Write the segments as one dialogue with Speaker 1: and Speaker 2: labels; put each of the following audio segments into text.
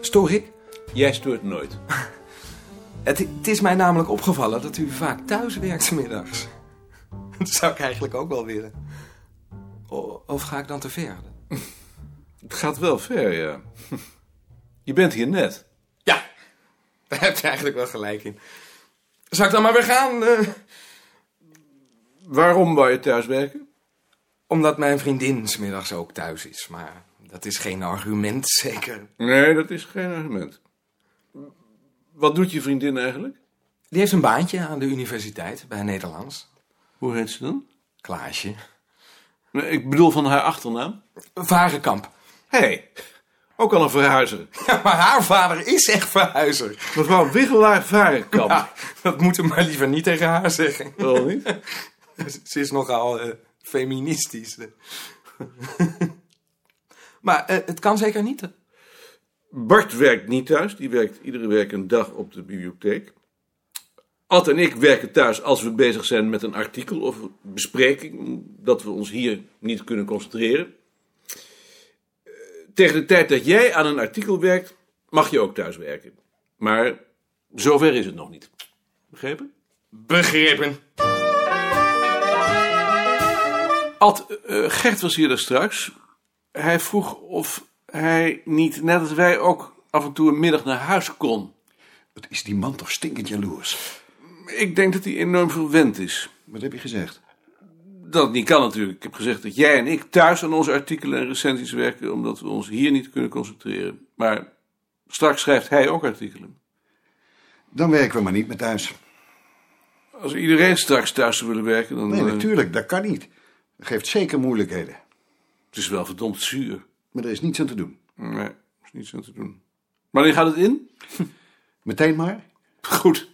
Speaker 1: Stoor ik?
Speaker 2: Jij stoort nooit.
Speaker 1: Het, het is mij namelijk opgevallen dat u vaak thuis werkt 's middags. Dat zou ik eigenlijk ook wel willen. O- of ga ik dan te ver?
Speaker 2: Het gaat wel ver, ja. Je bent hier net.
Speaker 1: Ja, daar heb je eigenlijk wel gelijk in. Zou ik dan maar weer gaan? eh?
Speaker 2: Waarom wou je thuis werken?
Speaker 1: Omdat mijn vriendin 's middags ook thuis is. Maar dat is geen argument, zeker.
Speaker 2: Nee, dat is geen argument. Wat doet je vriendin eigenlijk?
Speaker 1: Die heeft een baantje aan de universiteit bij Nederlands.
Speaker 2: Hoe heet ze dan?
Speaker 1: Klaasje.
Speaker 2: Nee, Ik bedoel van haar achternaam.
Speaker 1: Varenkamp.
Speaker 2: Hé, hey, ook al een verhuizer.
Speaker 1: Ja, maar haar vader is echt verhuizer.
Speaker 2: Mevrouw Wiggelaar Varenkamp.
Speaker 1: Ja, dat moet hem maar liever niet tegen haar zeggen.
Speaker 2: Wel niet?
Speaker 1: Ze is nogal eh, feministisch. maar eh, het kan zeker niet. hè?
Speaker 2: Bart werkt niet thuis. Die werkt iedere week een dag op de bibliotheek. Ad en ik werken thuis als we bezig zijn met een artikel of een bespreking, omdat we ons hier niet kunnen concentreren. Eh, Tegen de tijd dat jij aan een artikel werkt, mag je ook thuis werken. Maar zover is het nog niet. Begrepen?
Speaker 1: Begrepen.
Speaker 2: Ad, eh, Gert was hier daar straks. Hij vroeg of hij niet, net als wij, ook af en toe een middag naar huis kon.
Speaker 3: Wat is die man toch stinkend jaloers?
Speaker 2: Ik denk dat hij enorm verwend is.
Speaker 3: Wat heb je gezegd?
Speaker 2: Dat niet kan natuurlijk. Ik heb gezegd dat jij en ik thuis aan onze artikelen en recensies werken, omdat we ons hier niet kunnen concentreren. Maar straks schrijft hij ook artikelen.
Speaker 3: Dan werken we maar niet meer thuis.
Speaker 2: Als iedereen straks thuis zou willen werken, dan...
Speaker 3: Nee,
Speaker 2: eh,
Speaker 3: natuurlijk, dat kan niet. Dat geeft zeker moeilijkheden.
Speaker 2: Het is wel verdomd zuur.
Speaker 3: Maar er is niets aan te doen.
Speaker 2: Nee, er is niets aan te doen. Wanneer gaat het in?
Speaker 3: Meteen maar.
Speaker 2: Goed.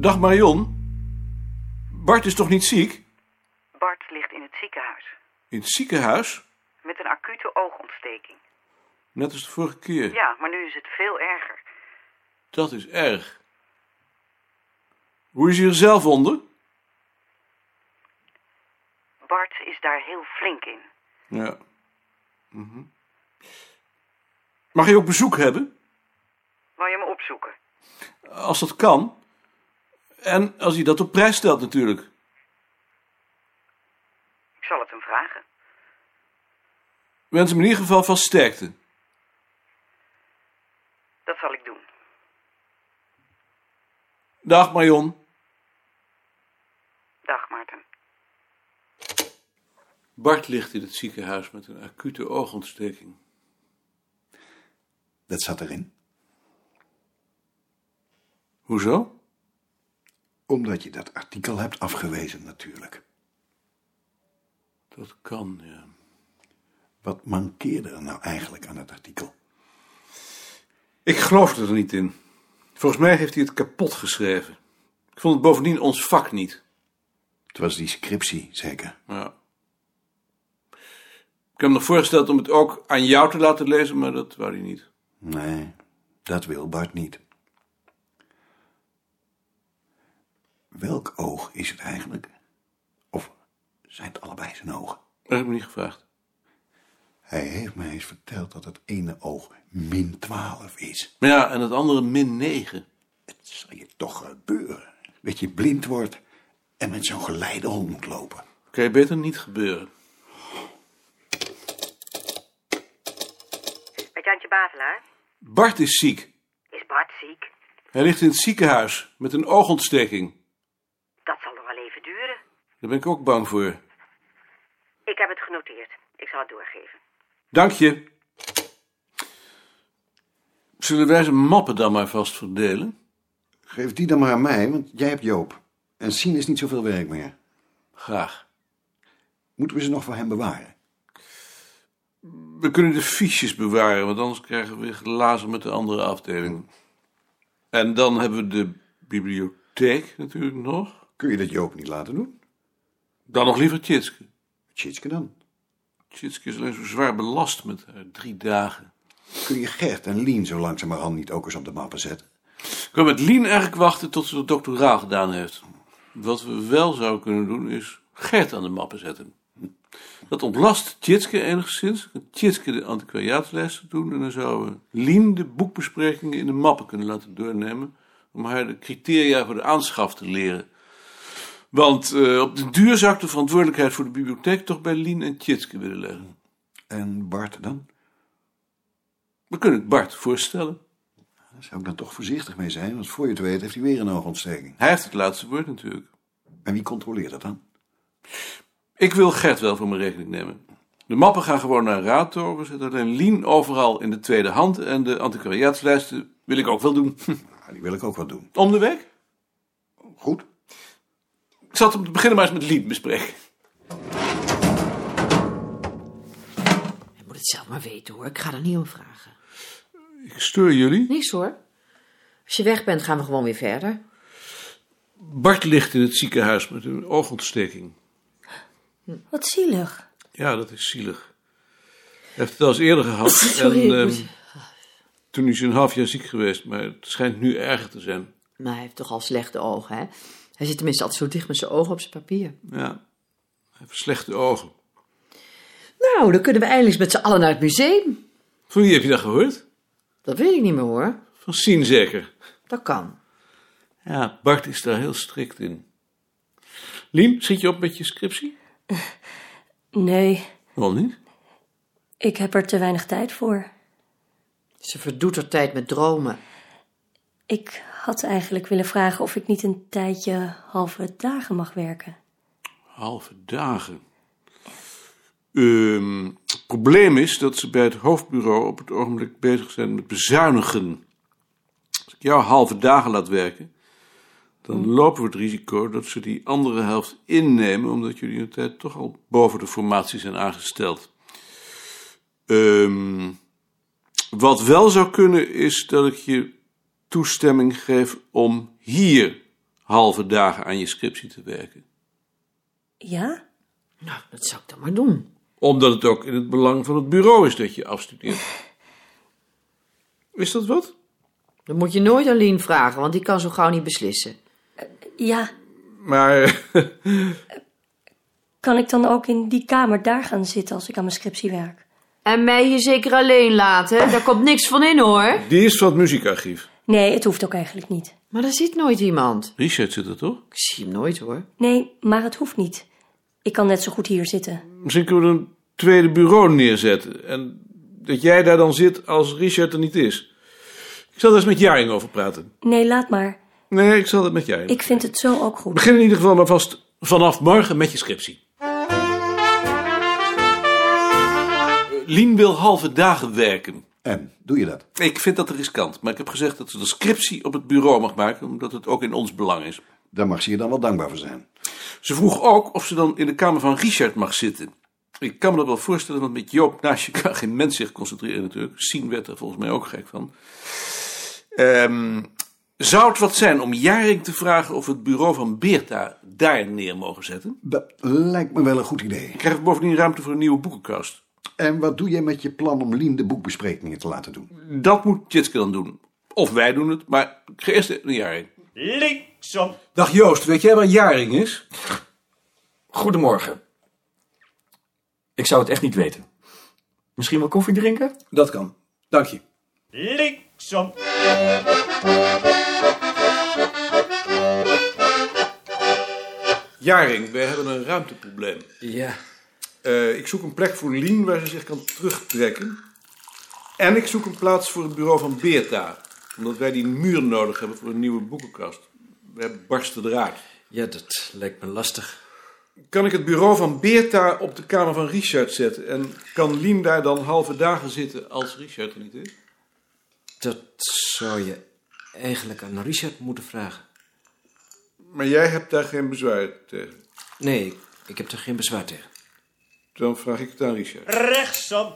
Speaker 2: Dag Marion. Bart is toch niet ziek?
Speaker 4: Bart ligt in het ziekenhuis
Speaker 2: In het ziekenhuis?
Speaker 4: met een acute oogontsteking.
Speaker 2: Net als de vorige keer.
Speaker 4: Ja, maar nu is het veel erger.
Speaker 2: Dat is erg. Hoe is hij er zelf onder?
Speaker 4: Bart is daar heel flink in.
Speaker 2: Ja. Mhm. Mag hij ook bezoek hebben?
Speaker 4: Wou je me opzoeken?
Speaker 2: Als dat kan. En als hij dat op prijs stelt natuurlijk.
Speaker 4: Ik zal het hem vragen.
Speaker 2: Wens hem in ieder geval vast sterkte.
Speaker 4: Dat zal ik doen.
Speaker 2: Dag Marion.
Speaker 4: Dag, Maarten.
Speaker 2: Bart ligt in het ziekenhuis met een acute oogontsteking.
Speaker 3: Dat zat erin.
Speaker 2: Hoezo?
Speaker 3: Omdat je dat artikel hebt afgewezen, natuurlijk.
Speaker 2: Dat kan, ja.
Speaker 3: Wat mankeerde er nou eigenlijk aan het artikel?
Speaker 2: Ik geloofde er niet in. Volgens mij heeft hij het kapot geschreven. Ik vond het bovendien ons vak niet.
Speaker 3: Het was die scriptie, zeker.
Speaker 2: Ja. Ik heb hem nog voorgesteld om het ook aan jou te laten lezen, maar dat wou hij niet.
Speaker 3: Nee, dat wil Bart niet. Welk oog is het eigenlijk? Of zijn het allebei zijn ogen?
Speaker 2: Dat heb ik me niet gevraagd.
Speaker 3: Hij heeft mij eens verteld dat het ene oog min 12 is.
Speaker 2: Maar ja, en het andere min 9.
Speaker 3: Het zal je toch gebeuren. Dat je blind wordt en met zo'n geleidehond moet lopen.
Speaker 2: Kan je beter niet gebeuren.
Speaker 4: Met Jantje Bavelaar?
Speaker 2: Bart is ziek.
Speaker 4: Is Bart ziek?
Speaker 2: Hij ligt in het ziekenhuis met een oogontsteking.
Speaker 4: Dat zal nog wel even duren.
Speaker 2: Daar ben ik ook bang voor.
Speaker 4: Ik heb het genoteerd. Ik zal het doorgeven.
Speaker 2: Dank je. Zullen wij zijn mappen dan maar vast verdelen?
Speaker 3: Geef die dan maar aan mij, want jij hebt Joop. En zien is niet zoveel werk meer.
Speaker 2: Graag.
Speaker 3: Moeten we ze nog voor hem bewaren?
Speaker 2: We kunnen de fiches bewaren, want anders krijgen we weer glazen met de andere afdelingen. En dan hebben we de bibliotheek natuurlijk nog.
Speaker 3: Kun je dat Joop niet laten doen?
Speaker 2: Dan nog liever Tjitske.
Speaker 3: Tjitske dan.
Speaker 2: Tjitske is alleen zo zwaar belast met haar drie dagen.
Speaker 3: Kun je Gert en Lien zo langzamerhand niet ook eens op de mappen zetten?
Speaker 2: Ik kan met Lien eigenlijk wachten tot ze het doctoraal gedaan heeft. Wat we wel zouden kunnen doen is Gert aan de mappen zetten. Dat ontlast Tjitske enigszins. Tjitske de antiquariaatlijsten doen. En dan zouden Lien de boekbesprekingen in de mappen kunnen laten doornemen. Om haar de criteria voor de aanschaf te leren. Want eh, op de duur zou ik de verantwoordelijkheid voor de bibliotheek toch bij Lien en Tjitske willen leggen.
Speaker 3: En Bart dan?
Speaker 2: We kunnen het Bart voorstellen.
Speaker 3: Daar zou ik dan toch voorzichtig mee zijn, want voor je het weet heeft hij weer een oogontsteking.
Speaker 2: Hij heeft het laatste woord natuurlijk.
Speaker 3: En wie controleert dat dan?
Speaker 2: Ik wil Gert wel voor mijn rekening nemen. De mappen gaan gewoon naar Rato. We zetten alleen Lien overal in de tweede hand. En de antiquariaatslijsten wil ik ook wel doen.
Speaker 3: Nou, die wil ik ook wat doen.
Speaker 2: Om de week?
Speaker 3: Goed.
Speaker 2: Ik zal het om te beginnen maar eens met Lien bespreken.
Speaker 5: Hij moet het zelf maar weten hoor, ik ga er niet om vragen.
Speaker 2: Ik steur jullie.
Speaker 5: Niks hoor. Als je weg bent, gaan we gewoon weer verder.
Speaker 2: Bart ligt in het ziekenhuis met een oogontsteking.
Speaker 6: Wat zielig.
Speaker 2: Ja, dat is zielig. Hij heeft het al eens eerder gehad.
Speaker 5: Sorry,
Speaker 2: en,
Speaker 5: ik
Speaker 2: ehm,
Speaker 5: moet-
Speaker 2: toen is hij een half jaar ziek geweest, maar het schijnt nu erger te zijn.
Speaker 5: Maar hij heeft toch al slechte ogen, hè? Hij zit tenminste altijd zo dicht met zijn ogen op zijn papier.
Speaker 2: Ja, hij heeft slechte ogen.
Speaker 5: Nou, dan kunnen we eindelijk met z'n allen naar het museum.
Speaker 2: Van wie heb je dat gehoord?
Speaker 5: Dat weet ik niet meer hoor.
Speaker 2: Van Sien zeker.
Speaker 5: Dat kan.
Speaker 2: Ja, Bart is daar heel strikt in. Lien, schiet je op met je scriptie?
Speaker 6: Nee,
Speaker 2: Wel niet.
Speaker 6: ik heb er te weinig tijd voor.
Speaker 5: Ze verdoet haar tijd met dromen.
Speaker 6: Ik had eigenlijk willen vragen of ik niet een tijdje halve dagen mag werken.
Speaker 2: Halve dagen. Ehm, het probleem is dat ze bij het hoofdbureau op het ogenblik bezig zijn met bezuinigen. Als ik jou halve dagen laat werken, dan lopen we het risico dat ze die andere helft innemen, omdat jullie in de tijd toch al boven de formatie zijn aangesteld. Ehm, wat wel zou kunnen is dat ik je toestemming geef om hier halve dagen aan je scriptie te werken.
Speaker 6: Ja?
Speaker 5: Nou, dat zou ik dan maar doen.
Speaker 2: Omdat het ook in het belang van het bureau is dat je afstudeert. Is dat wat?
Speaker 5: Dan moet je nooit aan Lien vragen, want die kan zo gauw niet beslissen.
Speaker 6: Ja.
Speaker 2: Maar
Speaker 6: Kan ik dan ook in die kamer daar gaan zitten als ik aan mijn scriptie werk?
Speaker 5: En mij hier zeker alleen laten, daar komt niks van in hoor.
Speaker 2: die is van het muziekarchief.
Speaker 6: Nee, het hoeft ook eigenlijk niet.
Speaker 5: Maar er zit nooit iemand.
Speaker 2: Richard zit er toch?
Speaker 5: Ik zie hem nooit hoor.
Speaker 6: Nee, maar het hoeft niet. Ik kan net zo goed hier zitten.
Speaker 2: Misschien kunnen we een tweede bureau neerzetten. En dat jij daar dan zit als Richard er niet is. Ik zal daar eens met Jaring over praten.
Speaker 6: Nee, laat maar.
Speaker 2: Nee, ik zal dat met Jaring.
Speaker 6: Ik vind het zo ook goed.
Speaker 2: Begin in ieder geval maar vast vanaf morgen met je scriptie. Lien wil halve dagen werken.
Speaker 3: En, doe je dat?
Speaker 2: Ik vind dat riskant, maar ik heb gezegd dat ze de scriptie op het bureau mag maken, omdat het ook in ons belang is.
Speaker 3: Daar mag ze je dan wel dankbaar voor zijn.
Speaker 2: Ze vroeg ook of ze dan in de kamer van Richard mag zitten. Ik kan me dat wel voorstellen, want met Joop naast je kan geen mens zich concentreren natuurlijk. Sien werd er volgens mij ook gek van. Ehm, zou het wat zijn om Jaring te vragen of we het bureau van Beerta daar neer mogen zetten?
Speaker 3: Dat lijkt me wel een goed idee.
Speaker 2: Krijgen we bovendien ruimte voor een nieuwe boekenkast?
Speaker 3: En wat doe jij met je plan om Lien de boekbesprekingen te laten doen?
Speaker 2: Dat moet Tjitske dan doen. Of wij doen het, maar ik ga eerst naar Jaring.
Speaker 7: Linksom.
Speaker 2: Dag Joost, weet jij waar Jaring is?
Speaker 7: Goedemorgen. Ik zou het echt niet weten. Misschien wel koffie drinken?
Speaker 2: Dat kan. Dank je.
Speaker 7: Linksom.
Speaker 2: Jaring, wij hebben een ruimteprobleem.
Speaker 7: Ja.
Speaker 2: Eh, ik zoek een plek voor Lien waar ze zich kan terugtrekken. En ik zoek een plaats voor het bureau van Beerta. Omdat wij die muur nodig hebben voor een nieuwe boekenkast. Wij barsten eruit.
Speaker 7: Ja, dat lijkt me lastig.
Speaker 2: Kan ik het bureau van Beerta op de kamer van Richard zetten? En kan Lien daar dan halve dagen zitten als Richard er niet is?
Speaker 7: Dat zou je eigenlijk aan Richard moeten vragen.
Speaker 2: Maar jij hebt daar geen bezwaar tegen.
Speaker 7: Nee, ik, ik heb er geen bezwaar tegen.
Speaker 2: Dan vraag ik het aan Richard.
Speaker 7: Rechtsom.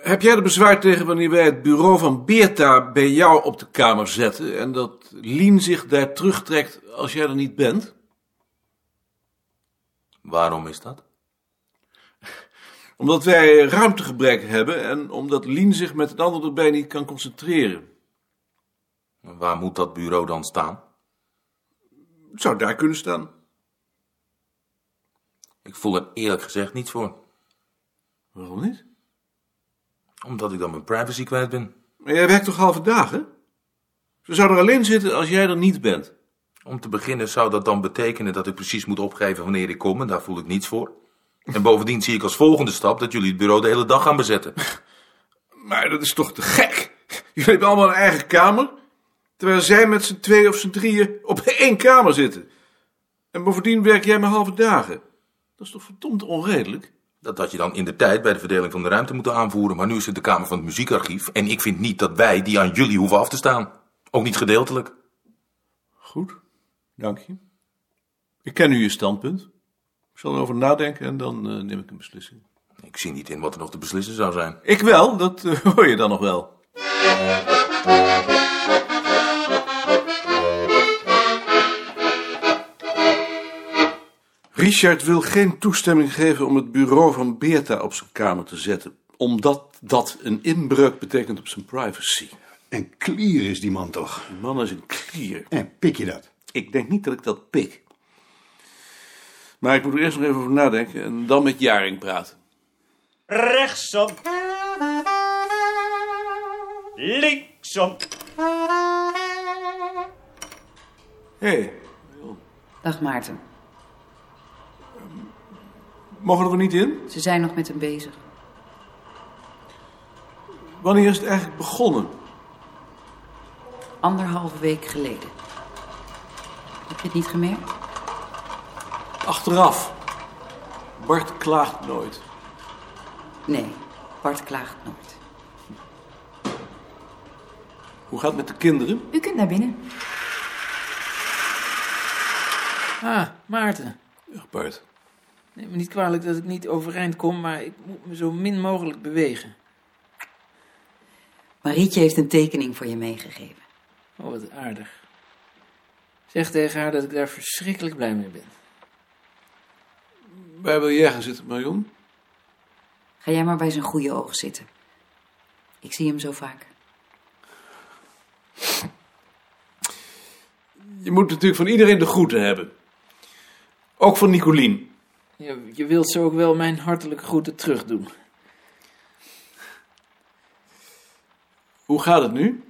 Speaker 2: Heb jij er bezwaar tegen wanneer wij het bureau van Beerta bij jou op de kamer zetten en dat Lien zich daar terugtrekt als jij er niet bent?
Speaker 8: Waarom is dat?
Speaker 2: Omdat wij ruimtegebrek hebben en omdat Lien zich met het andere erbij niet kan concentreren.
Speaker 8: Waar moet dat bureau dan staan?
Speaker 2: Het zou daar kunnen staan.
Speaker 8: Ik voel er eerlijk gezegd niet voor.
Speaker 2: Waarom niet?
Speaker 8: Omdat ik dan mijn privacy kwijt ben.
Speaker 2: Maar jij werkt toch halve dagen? Ze zou er alleen zitten als jij er niet bent.
Speaker 8: Om te beginnen zou dat dan betekenen dat ik precies moet opgeven wanneer ik kom en daar voel ik niets voor. En bovendien zie ik als volgende stap dat jullie het bureau de hele dag gaan bezetten.
Speaker 2: Maar dat is toch te gek? Jullie hebben allemaal een eigen kamer, terwijl zij met z'n twee of z'n drieën op één kamer zitten. En bovendien werk jij maar halve dagen. Dat is toch verdomd onredelijk?
Speaker 8: Dat had je dan in de tijd bij de verdeling van de ruimte moeten aanvoeren, maar nu is het de Kamer van het Muziekarchief en ik vind niet dat wij die aan jullie hoeven af te staan. Ook niet gedeeltelijk.
Speaker 2: Goed, dank je. Ik ken nu je standpunt. Ik zal erover nadenken en dan eh, neem ik een beslissing.
Speaker 8: Ik zie niet in wat er nog te beslissen zou zijn.
Speaker 2: Ik wel, dat eh, hoor je dan nog wel. Richard wil geen toestemming geven om het bureau van Beerta op zijn kamer te zetten, omdat dat een inbreuk betekent op zijn privacy.
Speaker 3: En klier is die man toch.
Speaker 2: Die man is een klier.
Speaker 3: En pik je dat?
Speaker 2: Ik denk niet dat ik dat pik. Maar ik moet er eerst nog even over nadenken en dan met Jaring praten.
Speaker 9: Rechtsom. Linksom.
Speaker 2: Hé,
Speaker 10: Dag Maarten.
Speaker 2: mogen we er niet in?
Speaker 10: Ze zijn nog met hem bezig.
Speaker 2: Wanneer is het eigenlijk begonnen?
Speaker 10: Anderhalve week geleden. Heb je het niet gemerkt?
Speaker 2: Achteraf. Bart klaagt nooit.
Speaker 10: Nee, Bart klaagt nooit.
Speaker 2: Hoe gaat het met de kinderen?
Speaker 11: U kunt naar binnen.
Speaker 12: Ah, Maarten.
Speaker 2: Dag Bart.
Speaker 12: Neem me niet kwalijk dat ik niet overeind kom, maar ik moet me zo min mogelijk bewegen.
Speaker 10: Marietje heeft een tekening voor je meegegeven.
Speaker 12: Oh, wat aardig. Zeg tegen haar dat ik daar verschrikkelijk blij mee ben.
Speaker 2: Waar wil jij gaan zitten, Marion?
Speaker 10: Ga jij maar bij zijn goede oog zitten. Ik zie hem zo vaak.
Speaker 2: Je moet natuurlijk van iedereen de groeten hebben. Ook van Nicolien.
Speaker 12: Je, je wilt zo ook wel mijn hartelijke groeten terugdoen.
Speaker 2: Hoe gaat het nu?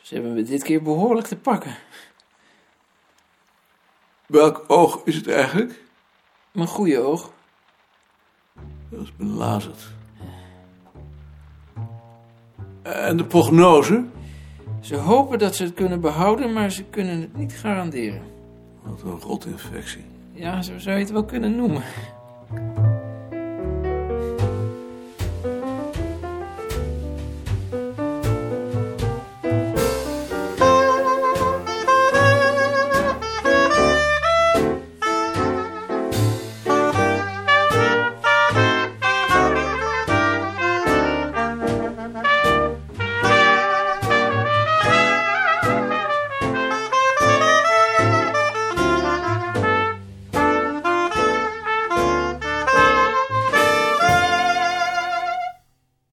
Speaker 12: Ze hebben me dit keer behoorlijk te pakken.
Speaker 2: Welk oog is het eigenlijk?
Speaker 12: Mijn goede oog.
Speaker 2: Dat is belazerd. En de prognose?
Speaker 12: Ze hopen dat ze het kunnen behouden, maar ze kunnen het niet garanderen.
Speaker 2: Wat een rotinfectie.
Speaker 12: Ja, zo zou je het wel kunnen noemen.